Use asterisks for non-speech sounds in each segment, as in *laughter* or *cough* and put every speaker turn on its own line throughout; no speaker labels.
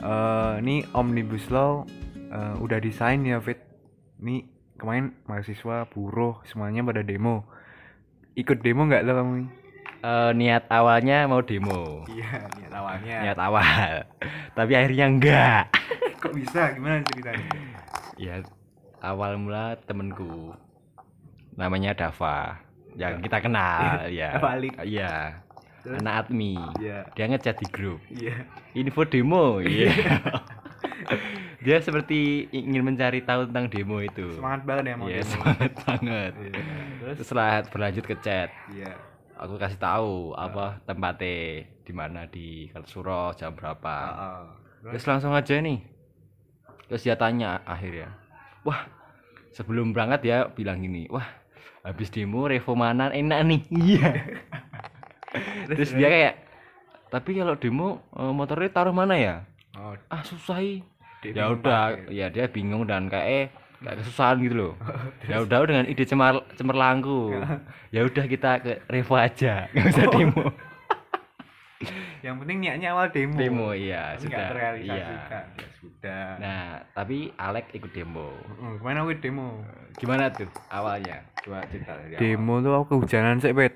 Eh, ini omnibus law eh, udah desain ya Fit. Nih kemarin mahasiswa buruh semuanya pada demo. Ikut demo nggak lo kamu?
Eh, niat awalnya mau demo
Iya, niat awalnya.
niat awal *laughs* tapi akhirnya enggak
Kok bisa? Gimana *laughs* ceritanya?
ya awal mula temenku namanya Dava yang kita kenal *laughs* ya
Dava Alif.
iya
Terus?
anak admi
Iya.
dia ngechat di grup
Iya.
info demo iya *laughs* dia seperti ingin mencari tahu tentang demo itu
Semangat banget ya mau demo.
Iya, semangat banget
*laughs* Iya. Terus
terus lah berlanjut ke chat
iya.
aku kasih tahu apa tempatnya di mana di Kartosuro jam berapa
Heeh. Terus
Terus langsung aja nih. Terus dia tanya akhirnya. Wah, sebelum berangkat ya bilang gini. Wah, habis demo reformanan enak
*laughs*
nih. Iya. Terus dia kayak tapi kalau demo eh, motornya taruh mana ya?
oh,
Ah, susah. ih."
dia
Ya
bingung
udah,
banget.
ya dia bingung dan kayak eh kayak kesusahan
*laughs*
gitu
Oh,
loh. ya udah dengan ide cemar cemerlangku. ya udah kita ke revo aja. *laughs* Gak usah
Oh.
demo.
Yang penting niatnya awal demo.
Demo,
Tapi
iya,
nggak
sudah, Iya.
terrealisasikan. Ya sudah.
Nah, tapi Alek ikut demo.
Heeh, kemarin aku demo.
Gimana tuh awalnya? Coba cerita dari awal.
Demo tuh aku kehujanan sih, Pet.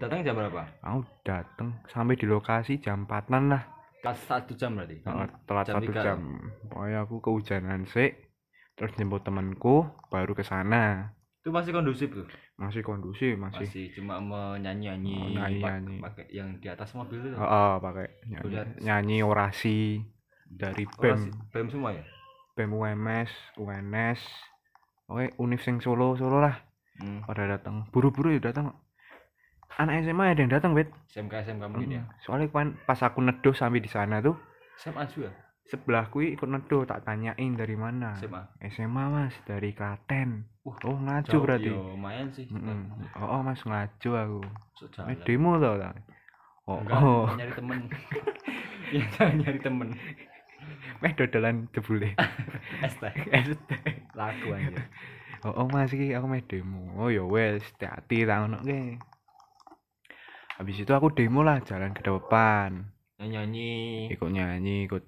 Datang jam berapa?
Aku dateng sampai di lokasi jam 4-an lah.
Pas satu jam berarti.
Nah, telat
Hmm, jam
satu
tiga.
jam. Pokoknya aku kehujanan sih. Terus jemput temanku baru ke sana.
Itu masih kondusif tuh.
Masih kondusif, masih.
Masih cuma menyanyi-nyanyi
Oh, nyanyi-nyanyi.
pak- pakai yang di atas mobil itu.
Heeh, pakai nyanyi,
Udah.
nyanyi orasi dari
Orang
BEM,
si- Oh, BEM semua ya?
BEM UMS, UNS. Oke, Unif sing Solo-Solo lah.
Hmm.
pada datang buru-buru ya datang anak SMA ada yang datang bet
SMK SMK mungkin ya.
Mm. soalnya kemarin pas aku neduh sampai di sana tuh
SMA juga.
sebelahku ikut neduh tak tanyain dari mana
SMA.
SMA mas dari Klaten
Wah,
oh ngaco
Jauh,
berarti
ya, lumayan sih.
Mm-mm. oh, oh, mas ngaco aku
Sejalan.
eh, demo tau tak oh
Enggak,
oh *laughs*
nyari temen. ya, jangan nyari temen.
meh dodolan jebule
ST. Lagu aja.
oh, oh mas iki aku meh demo oh ya wes hati-hati tak ngono ke habis itu aku demo lah jalan ke depan
Nyanyi.
ikut nyanyi ikut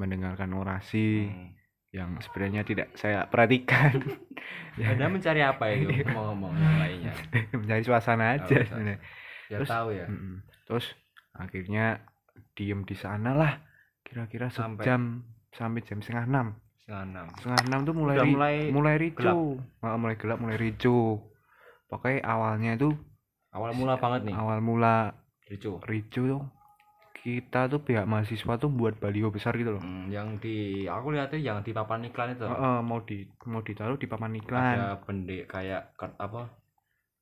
mendengarkan orasi
Hmm.
yang sebenarnya tidak saya perhatikan Ya.
Anda mencari apa itu? Ngomong-ngomong yang lainnya.
*laughs* mencari suasana aja
Oh,
sebenarnya.
Ya
Terus-
tahu ya.
Mm-mm. Iya. terus akhirnya diem di sana lah kira-kira
Sampai-
sejam sampai jam setengah enam
Setengah enam.
setengah enam tuh mulai
Udah
ri-
mulai
mulai ricu Ah, mulai gelap mulai ricu pokoknya awalnya itu
Awal mula banget nih.
awal mula
Ricu.
ricu tuh kita tuh pihak mahasiswa tuh buat baliho besar gitu loh
Hmm, yang di aku lihatnya yang di papan iklan itu.
Heeh, mau di mau ditaruh di papan iklan
Ada pendek kayak ker- apa?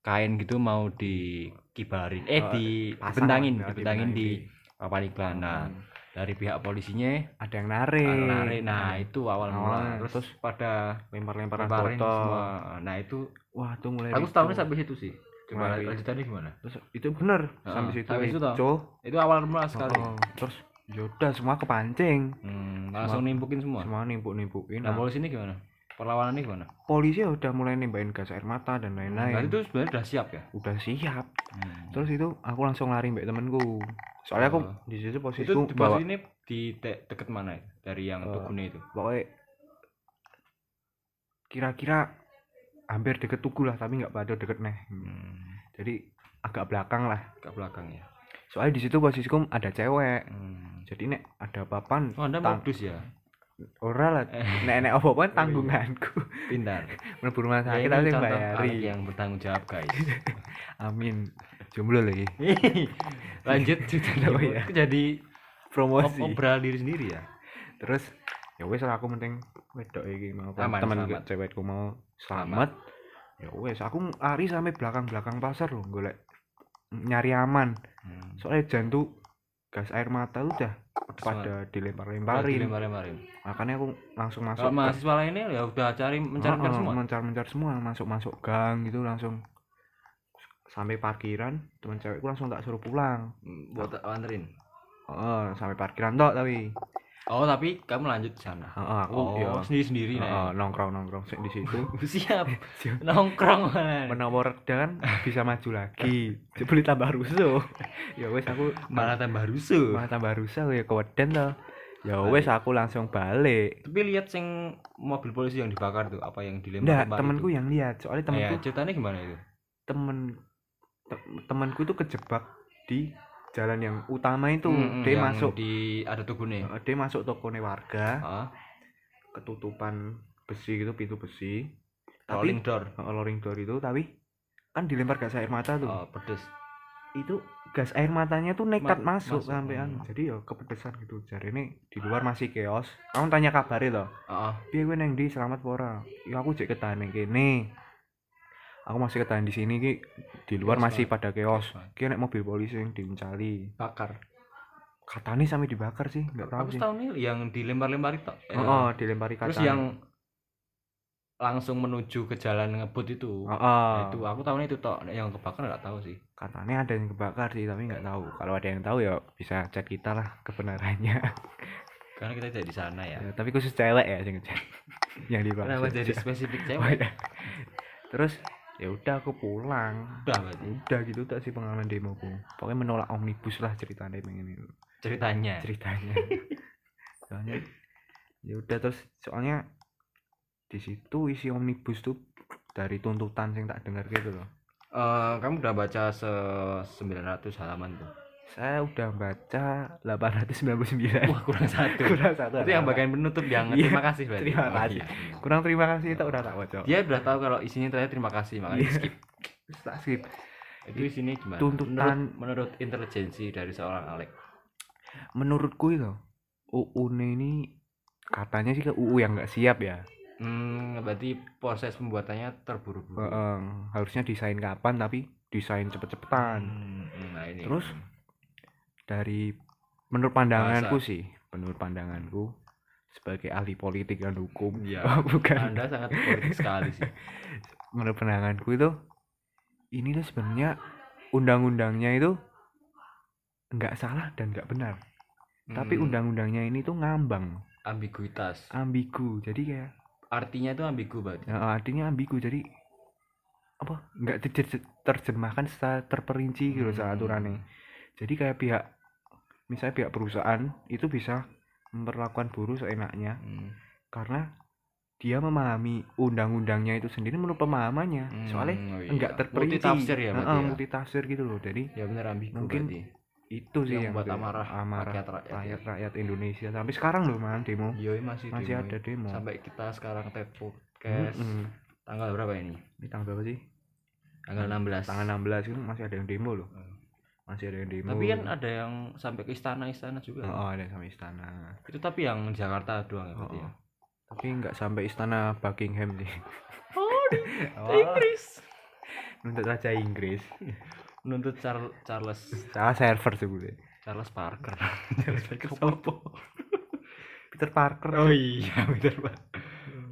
Kain gitu mau dikibarin. Eh
Oh,
di
Pasang,
dibentangin,
ya,
dibentangin di
dibentangin
papan iklan. Nah,
Hmm.
dari pihak polisinya
ada yang narik,
narik. Nah, itu awal
Awalnya.
mula. Terus,
Terus
pada
Nah, lempar-lemparan
lemparin
botol
semua. Nah, itu
wah tuh mulai ricu.
aku setahunnya sampai situ sih. Coba
Mulai-
lanjutannya gimana?
Terus itu bener
Heeh,
sampai situ
sampai situ toh.
ricu.
Itu awal mula sekali.
Heeh, terus yaudah Ya semua kepancing
Hmm, langsung nimbukin semua.
semua nimpuk-nimpukin
Nah,
Nah,
polisi ini gimana? Perlawanannya gimana?
polisi ya udah mulai nimbain gas air mata dan
Nah,
lain-lain
itu sebenarnya udah siap ya.
udah siap terus itu aku langsung lari mbak temenku soalnya aku
Oh.
di situ
itu
posisiku
di
bawa
bawah ini di te- deket mana ya? Dari
Eh,
yang Tugune itu.
pokoknya kira-kira hampir deket tugu lah tapi nggak pada deket neh
Hmm,
jadi agak belakang lah
ke belakang ya.
soalnya di situ posisiku ada cewek
Hmm.
jadi nek ada papan
Oh, Anda
Tang-
modus ya.
ora lah nek nek apa apa tanggunganku *laughs*
Pintar.
mlebu rumah
Eh. Oh, iya. Ya,
sakit
ini
aku sing
contoh
bayari
anak yang bertanggung jawab, guys.
*laughs*
*laughs*
amin jomblo lagi *laughs*
Lanjut cerita
Oh,
dulu.
iya.
Itu jadi ob-
promosi
obral diri sendiri ya.
terus ya wes lah aku penting wedok iki mau
Aman,
temen
selamat.
cewekku mau selamat ya wes aku lari sampai belakang-belakang pasar loh golek nyari aman
Hmm.
soalnya jantung gas air mata udah pada dilempar-lemparin
Kemarin-kemarin.
makanya aku langsung masuk
Kalau
ke-
mahasiswa lainnya ya udah cari mencarkan
Heeh,
Oh, semua.
mencar-mencar semua masuk-masuk gang gitu langsung sampai parkiran teman cewekku langsung tak suruh pulang
Hmm, Buat anterin.
Heeh, sampai parkiran tok tapi
Oh, tapi kamu lanjut di sana.
Heeh, aku
Oh,
ya
sendiri-sendiri nah.
nongkrong nongkrong di situ
*laughs* Siap.
Siap. *laughs*
Nongkrong mana?
menawa reda kan bisa maju
*laughs*
lagi jebule tambah rusuh *laughs* ya wes aku
Malah tambah rusuh.
malah tambah rusuh ya keweden loh ya wes aku langsung balik
tapi lihat sing mobil polisi yang dibakar tuh apa yang
enggak
dilempar
temenku yang lihat soalnya
temenku
temenku
ceritanya gimana itu
temen te- temenku itu kejebak di jalan yang utama itu
Mm, mm,
dia
yang
masuk eh,
di ada tugune
dia masuk tokone warga
Heeh.
ketutupan besi gitu pintu besi
rolling
tapi
door
Heeh, lowering door itu tapi kan dilempar gas air mata tuh
Oh, pedes
itu gas air matanya tuh nekat
Ma-
masuk,
masuk,
sampai anu.
hmm.
jadi ya kepedesan gitu jari ini di luar masih chaos kamu tanya kabarnya loh
Heeh.
piye gue neng di selamat apa ora ya aku cek ketahan yang kene aku masih ketahan di sini ki di luar
Chaos
masih
banget.
pada chaos
Chaos banget.
ki nek mobil polisi yang diuncali
bakar
katanya sampai dibakar sih nggak tahu
aku
sih
tahu nih yang dilempar-lempar itu Eh,
oh, oh, dilempari kaca
terus yang langsung menuju ke jalan ngebut itu
oh, oh.
Nah, itu aku tahu itu tok Nah, yang kebakar nggak tahu sih
katanya ada yang kebakar sih tapi nggak tahu kalau ada yang tahu ya bisa chat kita lah kebenarannya
karena kita tidak di sana ya
Ya, *laughs* tapi khusus cewek ya yang chat *laughs* yang dibahas
kenapa jadi
*laughs*
spesifik cewek
terus ya udah aku pulang
udah berarti
udah gitu tak sih pengalaman demoku pokoknya menolak omnibus lah ceritanya pengen itu
ceritanya *laughs*
ceritanya soalnya ya udah terus soalnya di situ isi omnibus tuh dari tuntutan yang tak dengar gitu loh
Eh, kamu udah baca se 900 halaman tuh
saya udah baca
*laughs*
899
wah kurang satu
Eh, kurang satu
itu yang
halaman.
bagian penutup yang
Iya,
terima kasih berarti
terima
Oh,
kasih.
iya.
kurang terima kasih tak udah tak baca
dia udah tahu kalau isinya ternyata terima kasih makanya
Iya.
skip
tak skip
itu isinya gimana
Tuntutan-
menurut, menurut intelijensi dari seorang Alex
menurutku itu UU -ne ini katanya sih ke UU yang nggak siap ya
hmm, berarti proses pembuatannya terburu-buru
Heeh, harusnya desain kapan tapi desain cepet-cepetan
Hmm, hmm, nah ini
Terus? dari menurut pandanganku sih menurut pandanganku sebagai ahli politik dan hukum
Iya.
oh, *laughs* bukan
Anda sangat politik sekali sih.
menurut pandanganku itu ini tuh sebenarnya undang-undangnya itu nggak salah dan nggak benar *laughs* tapi
Hmm,
undang-undangnya ini tuh ngambang
ambiguitas.
ambigu jadi kayak
Artinya itu ambigu berarti.
ya, artinya ambigu jadi apa nggak diterje- terjemahkan secara terperinci gitu
Hmm.
secara aturannya jadi kayak pihak misalnya pihak perusahaan itu bisa memperlakukan buruh seenaknya
Hmm.
karena dia memahami undang-undangnya itu sendiri menurut pemahamannya
Hmm,
soalnya
oh iya.
enggak terperinci
Multitafsir ya berarti
Heeh,
ya?
multitafsir gitu loh jadi
Ya benar ambigu
Mungkin
berarti.
itu sih
Yang
yang,
buat
itu,
amarah rakyat- rakyat. ya.
rakyat rakyat Indonesia sampai sekarang loh man demo
Iya masih,
masih
demo
ada
ya.
demo
Sampai kita sekarang tag podcast
Mm-mm.
tanggal berapa ini?
ini tanggal berapa sih
Tanggal 16.
tanggal 16 itu masih ada yang demo loh
Hmm.
masih ada yang demo
Tapi kan ada yang sampai ke istana-istana juga.
oh, ada yang sampai istana
Itu tapi yang Jakarta doang ya berarti
Oh,
ya.
oh. tapi nggak sampai istana Buckingham sih
Oh, di
*laughs* oh,
Inggris.
untuk raja
*laughs*
Inggris
Menuntut Char- Charles
salah server sebetulnya
Charles Parker.
*laughs*
Charles Parker *laughs* siapa?
Peter Parker Hmm.
Oh iya, benar Pak.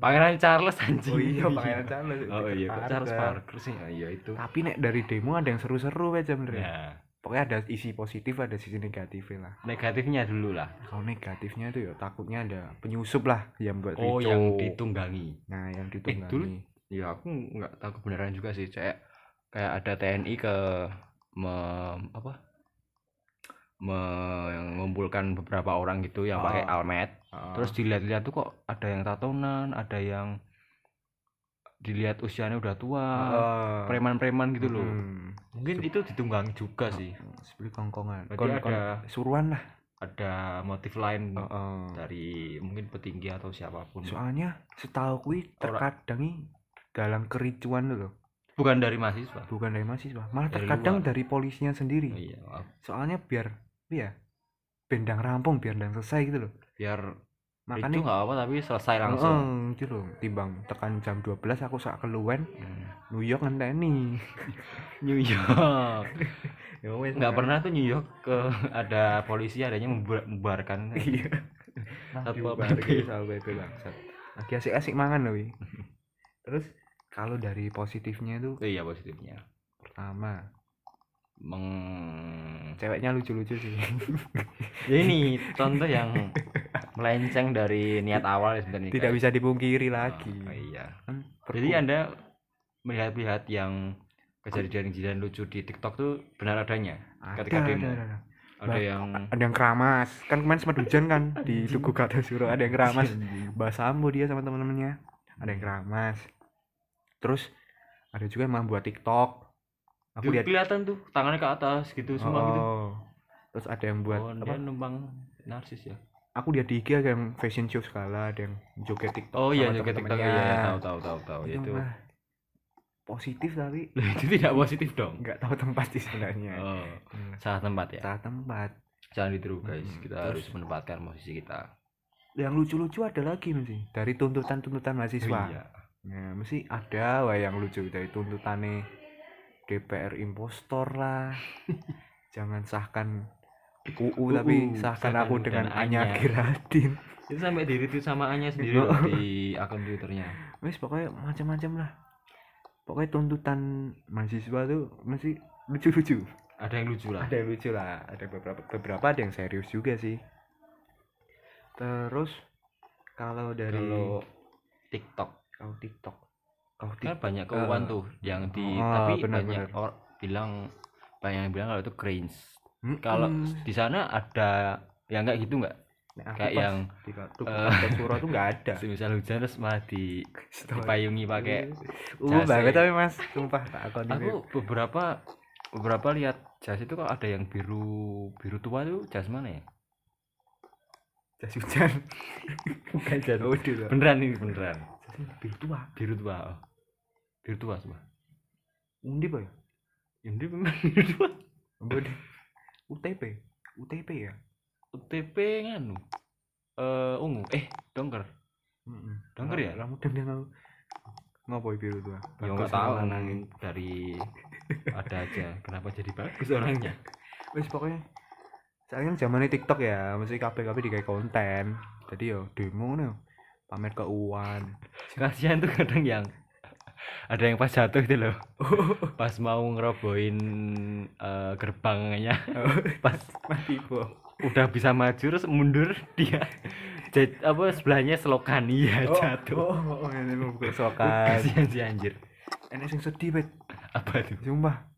Pangeran Charles
*laughs*
anjing.
Oh
*laughs*
iya, Pangeran Charles.
Oh
Peter
iya, kok Charles
Parker.
Parker sih. Oh, iya itu.
Tapi nek dari demo ada yang seru-seru aja bener. ya.
Nah,
Pokoknya ada isi positif, ada sisi negatifnya lah.
negatifnya dulu lah.
Kalau negatifnya itu ya takutnya ada penyusup lah yang buat
Oh,
ricu.
yang ditunggangi.
Nah, yang
Eh, dulu
ditunggangi.
Ya aku nggak tahu kebenaran juga sih, Cek. Kayak ada TNI ke me- apa? mengumpulkan beberapa orang gitu yang pakai
Ah.
almet.
Heeh.
Terus dilihat-lihat tuh kok ada yang tatonan, ada yang dilihat usianya udah tua,
Heeh.
preman-preman eh, gitu loh. Gitu.
Hmm.
Ah. Mungkin itu ditunggangi juga sih.
Seperti kongkongan.
Berarti
Kon- kon-
ada- Oh,
suruhan lah.
ada motif lain
Heeh.
dari mungkin petinggi atau siapapun
Soalnya setahu kui terkadang ini dalam kericuan tuh loh.
bukan dari mahasiswa
Bukan dari mahasiswa, malah
Dari
terkadang
luar.
dari polisinya sendiri.
iya maaf.
Soalnya biar ya bendang rampung biar dan selesai gitu loh.
biar itu
Makanya
nggak apa tapi selesai langsung
Heeh, gitu loh, timbang tekan jam 12 aku sak keluwen
Hmm.
New York
*laughs*
ngenteni.
New York
Ya wes.
nggak pernah tuh New York ke *laughs* ada polisi adanya membubar- *laughs* membubarkan
Iya.
Satpol
Satpol PP
PP.
Satpol PP bangsat. Lagi asik-asik mangan
*laughs*
loh. wi. Terus kalau dari positifnya itu
itu iya positifnya
pertama,
meng
ceweknya lucu-lucu sih.
ya *laughs* ini contoh *laughs* yang melenceng dari niat awal ya sebenarnya
*laughs* Tidak
Kayak-
bisa dipungkiri lagi.
Oh, iya
Kan
Jadi
perpu-
Anda melihat-lihat yang kejadian-kejadian lucu di TikTok tuh benar adanya
ada,
ketika
ada,
demo.
ada, ada.
ada yang
ada yang keramas kan kemarin sempat hujan kan di tugu kata suruh ada yang
*laughs*
keramas
Iya.
bahasa ambo dia sama temen-temennya ada yang keramas terus ada juga yang membuat tiktok aku
Duh,
lihat
kelihatan tuh tangannya ke atas gitu semua gitu
Oh. terus ada yang buat
oh,
apa
dia numpang narsis ya
aku lihat di IG ada yang fashion show segala ada yang joget tiktok
oh iya
sama
juga tiktok
temen-temennya.
iya tahu tahu tahu tahu
Itu
itu
mah positif tapi
Lah, itu tidak positif dong
nggak tahu tempat sih sebenarnya
oh
Hmm.
salah tempat ya
salah tempat
jangan ditiru guys
Mm-mm.
kita
Terus-
harus menempatkan posisi kita
yang lucu-lucu ada lagi mesti dari tuntutan-tuntutan mahasiswa
iya
Nah, mesti ada wah yang lucu dari tuntutane DPR impostor *laughs* lah. Jangan sahkan UU tapi
UU,
sahkan
sahkan
aku
dan
dengan
Anya.
Anya Giradin.
itu sampai di retweet sama Anya sendiri
No.
loh di akun twitternya
Wis pokoknya macam-macam lah. Pokoknya tuntutan mahasiswa tuh masih lucu-lucu.
ada yang lucu lah
Ada yang lucu lah, ada beberapa beberapa ada yang serius juga sih. Terus kalau dari
kalau tiktok
kau TikTok, kau
kan
TikTok
banyak keuangan
Eh.
tuh yang di
Oh,
tapi
benar,
banyak
benar.
orang bilang banyak yang bilang kalau itu cringe
Hmm?
kalau
Nah,
di sana ada yang kayak gitu nggak kayak yang
di kartu
eh,
surat tuh nggak ada.
semisal hujan terus malah di
Oh, iya.
dipayungi pakai
Uh,
jas
banget
ya.
tapi mas, sumpah tak akun ini.
aku beberapa beberapa lihat jas itu kalau ada yang biru biru tua tuh jas mana ya
jas hujan.
bukan
*laughs*
jas
Udah lah.
beneran ini beneran
Biru tua.
biru tua oh. biru tua semua
Undi boy.
ini memang biru tua
Undi. UTP. UTP ya.
UTP nganu eh ungu eh dongker
Mm-mm.
Denger ya?
Lah mudah dia ngau. Ngopo biru tua.
Ya nggak tahu nangis dari ada aja. Kenapa jadi bagus *laughs* orangnya?
Wes pokoknya Soalnya zamannya TikTok ya, mesti kabeh-kabeh digawe konten. Jadi yo demo ngono. yo. Pamer
*laughs*
keuangan.
Kasihan tuh kadang yang ada yang pas jatuh itu loh. Pas mau ngerobohin eh, *laughs* gerbangnya, pas
Mati bo.
udah bisa maju terus mundur dia jat- apa sebelahnya selokan iya jatuh.
Oh, oh, oh, ini mau buka sokan.
Kasihan sih anjir.
Enak sing sedih, Bet.
Apa tuh?
Sumpah.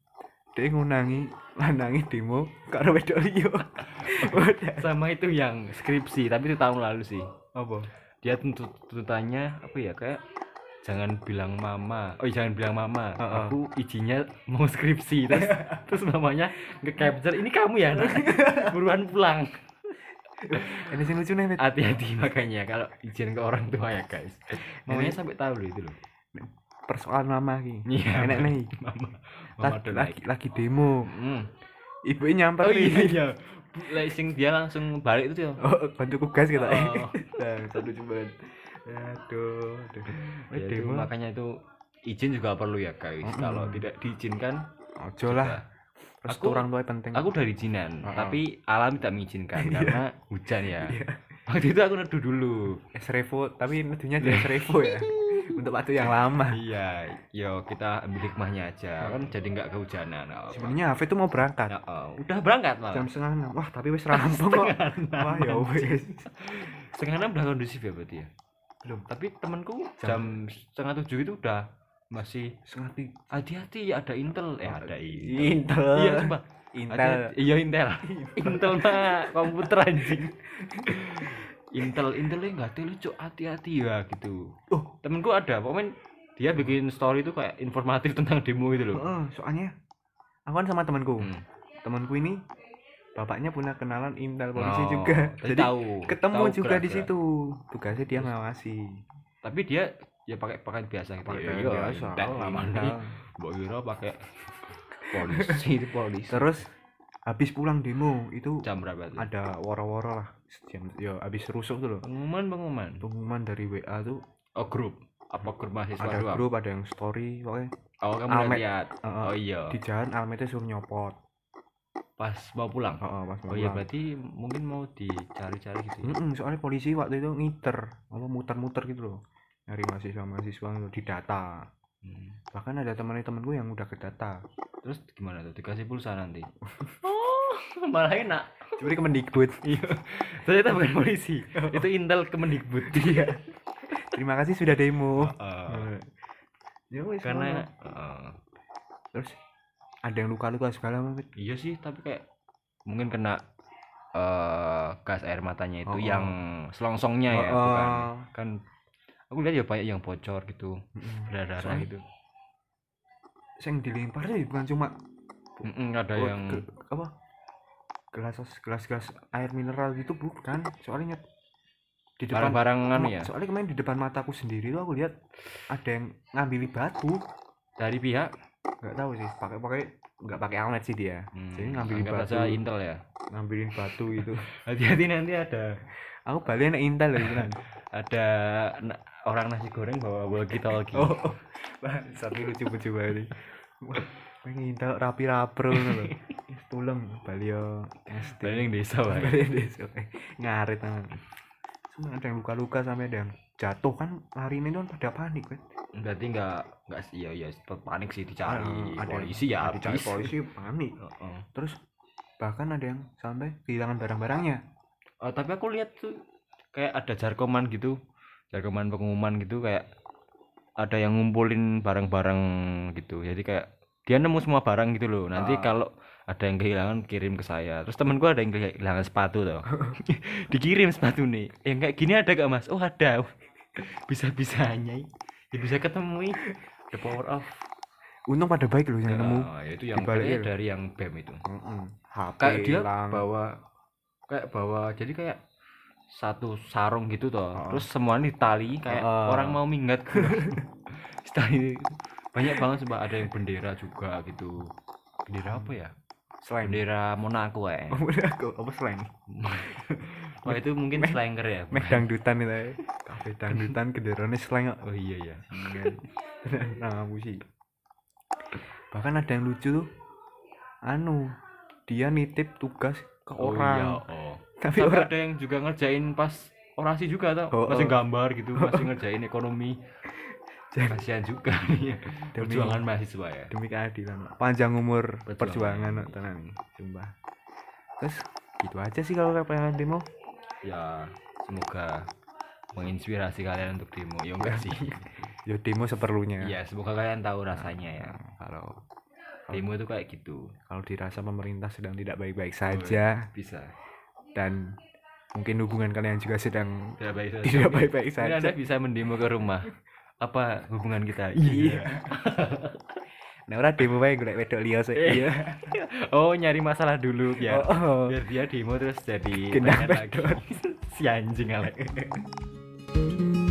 Dia ngunangi, lanangi demo karo wedok
*laughs*
liya. Udah.
Sama itu yang skripsi, tapi itu tahun lalu sih.
Apa?
dia tuntut tuntutannya apa ya kayak jangan bilang mama oh jangan bilang mama
Heeh.
aku izinnya mau skripsi
*laughs*
terus terus mamanya nge capture ini kamu ya nak? buruan pulang
Ini sing lucu nih, Bet.
hati-hati makanya kalau izin ke orang tua ya guys mamanya sampai tahu loh itu loh
Persoalan mama iki.
Iya,
Enak nih.
mama mama
Lagi,
udah
lagi,
naik
lagi demo.
hmm.
Ibu nyamper
oh
nih.
iya iya Bu- lah, sing dia langsung balik itu ya
*laughs* Oh, bantu kugas kita. *laughs*
Oh.
Nah, satu cuman. Aduh, aduh.
Ya, itu,
demo.
makanya itu izin juga perlu ya guys
Mm-mm.
kalau tidak diizinkan ya.
Ojo lah. Restu
Aku-
orang tua penting.
aku dari Jinan
Heeh. Iya.
tapi alam tidak mengizinkan karena hujan ya waktu itu aku neduh dulu
es revo, tapi medunya jadi es revo
*laughs*
ya. Untuk waktu yang lama.
iya yo kita ambil hikmahnya aja kan jadi nggak kehujanan
Iya.
apa
Sebenarnya Hafid tuh mau berangkat.
udah berangkat malah
jam setengah enam wah tapi wis rampung kok wah ya wis
setengah enam udah kondusif ya berarti ya
belum
tapi temanku
Jam-
jam, setengah tujuh itu udah masih
setengah tiga
hati-hati ada intel eh ada intel
intel
iya coba
intel
iya
*laughs*
Intel Intel mah komputer anjing Intel Intel enggak tuh lucu hati-hati ya gitu
oh
temenku ada pokoknya dia bikin story itu kayak informatif tentang demo itu loh
heeh, soalnya aku kan sama temanku
Hmm.
temanku ini bapaknya punya kenalan intel polisi
Oh,
juga
tapi
jadi
tahu,
ketemu
tahu
juga di
gerak-gerak.
situ tugasnya dia
Terus-
ngawasi
tapi dia ya pakai pakaian biasa gitu
Pakai
ya
pakaian biasa,
Intel
lah,
mana
Intel.
mbok kira pakai
*laughs*
polisi itu polisi
terus habis pulang demo itu
jam berapa tuh
ada woro-woro lah jam ya habis rusuh tuh loh
pengumuman pengumuman
pengumuman dari WA tuh
oh grup apa grup mahasiswa
ada
doang?
grup Ah. ada yang story pokoknya
oh kamu
Almet.
udah lihat
Heeh.
oh iya
di jalan alamatnya suruh nyopot
pas mau pulang
Heeh, pas mau
oh
pulang.
iya berarti mungkin mau dicari-cari gitu ya?
Mm-mm, soalnya polisi waktu itu ngiter, apa muter-muter gitu loh. Nyari mahasiswa-mahasiswa gitu di data.
Hmm.
Bahkan ada teman-teman gue yang udah ke data.
terus gimana tuh dikasih pulsa *laughs* nanti oh *laughs* malah enak
Curi ke Mendikbud.
*laughs* Iya. Ternyata bukan polisi. Itu intel Kemendikbud. *laughs* Iya.
Terima kasih sudah demo. Eh, ya wes,
Oh, karena
ngono. terus ada yang luka-luka segala macam.
Eh, iya sih, tapi kayak mungkin kena eh, gas air matanya
Oh,
itu
oh.
yang selongsongnya ya
Oh, oh.
bukan kan aku lihat ya banyak yang bocor gitu berdarah
Soalnya-
gitu
yang dilempar sih bukan cuma
Mm-mm, ada
Oh,
yang
ge- apa gelas gelas gelas air mineral gitu bukan soalnya di depan
barang-barangan
kema-
ya
soalnya kemarin di depan mataku sendiri tuh aku lihat ada yang ngambil batu
dari pihak
nggak tahu sih pakai pakai nggak pakai alat sih dia
hmm,
Jadi ngambilin
anggap
batu.
aja intel ya
ngambilin batu
*laughs*
itu
hati-hati nanti ada
aku balik anak intel loh
*laughs*
beneran.
ada na- orang nasi goreng bawa walkie talkie
oh oh. bangsat ini lucu lucu banget Wah, pengen intel rapi rapro
*laughs*
loh tulung balik yo SD. *laughs*
dari yang desa Pak.
Sampai di desa, eh, ngarit tangan Cuma ada yang luka-luka sampai ada yang jatuh kan lari ini kan pada panik kan
berarti nggak nggak sih ya ya panik sih dicari
Ah, ada-
polisi ya
Ada cari
habis
polisi panik
Heeh.
terus bahkan ada yang sampai kehilangan barang-barangnya
Oh, tapi aku lihat tuh kayak ada jarkoman gitu jarkoman pengumuman gitu kayak ada yang ngumpulin barang-barang gitu jadi kayak dia nemu semua barang gitu loh nanti
Ah.
kalau ada yang kehilangan kirim ke saya terus temen gua ada yang kehilangan sepatu tuh
*laughs*
dikirim sepatu nih yang kayak gini ada gak mas oh ada *laughs* bisa bisanya ya bisa ketemu ih. the power of
untung pada baik loh yang nemu
Nah, itu yang
dibalik
kayaknya
ya.
dari yang bem itu
Mm-mm. HP
kayak dia
hilang
bawa kayak bawa jadi kayak satu sarung gitu toh
Heeh.
terus semuanya ditali kayak
Heeh.
orang mau minggat *laughs* tali banyak banget sebab ada yang bendera juga gitu bendera apa ya
slang
bendera Monaco ya
*laughs* Oh, udah aku apa slang
oh itu mungkin slanger ya
meh dangdutan itu ya kafe dangdutan kendaraannya slang kok.
oh iya ya
*laughs* nah aku sih bahkan ada yang lucu tuh anu dia nitip tugas ke
*laughs*
orang
iya, oh.
tapi
Tapi
orang
ada yang juga ngerjain pas orasi juga tau
Oh,
masih
oh.
gambar gitu masih ngerjain ekonomi
*laughs* Jadi-
kasihan juga iya.
Demi-
perjuangan mahasiswa ya
demi keadilan Pak. panjang umur
Perjuangan.
perjuangan Pak, tenan nih sumpah terus gitu aja sih kalau lapangan demo
ya semoga menginspirasi kalian untuk demo ya enggak sih
ya demo seperlunya
ya semoga kalian tahu rasanya ya
Nah, kalau
demo itu kayak gitu
kalau dirasa pemerintah sedang tidak baik-baik saja
bisa
dan mungkin hubungan kalian juga sedang
tidak baik saja
tidak baik-baik
Mungkin
saja
anda bisa mendemo ke rumah apa hubungan kita
Iya. nah orang demo baik gue wedok liya sih
Iya. *laughs* oh nyari masalah dulu biar
Oh, oh.
biar dia demo terus jadi *laughs*
Genah
pengen lagi si anjing alek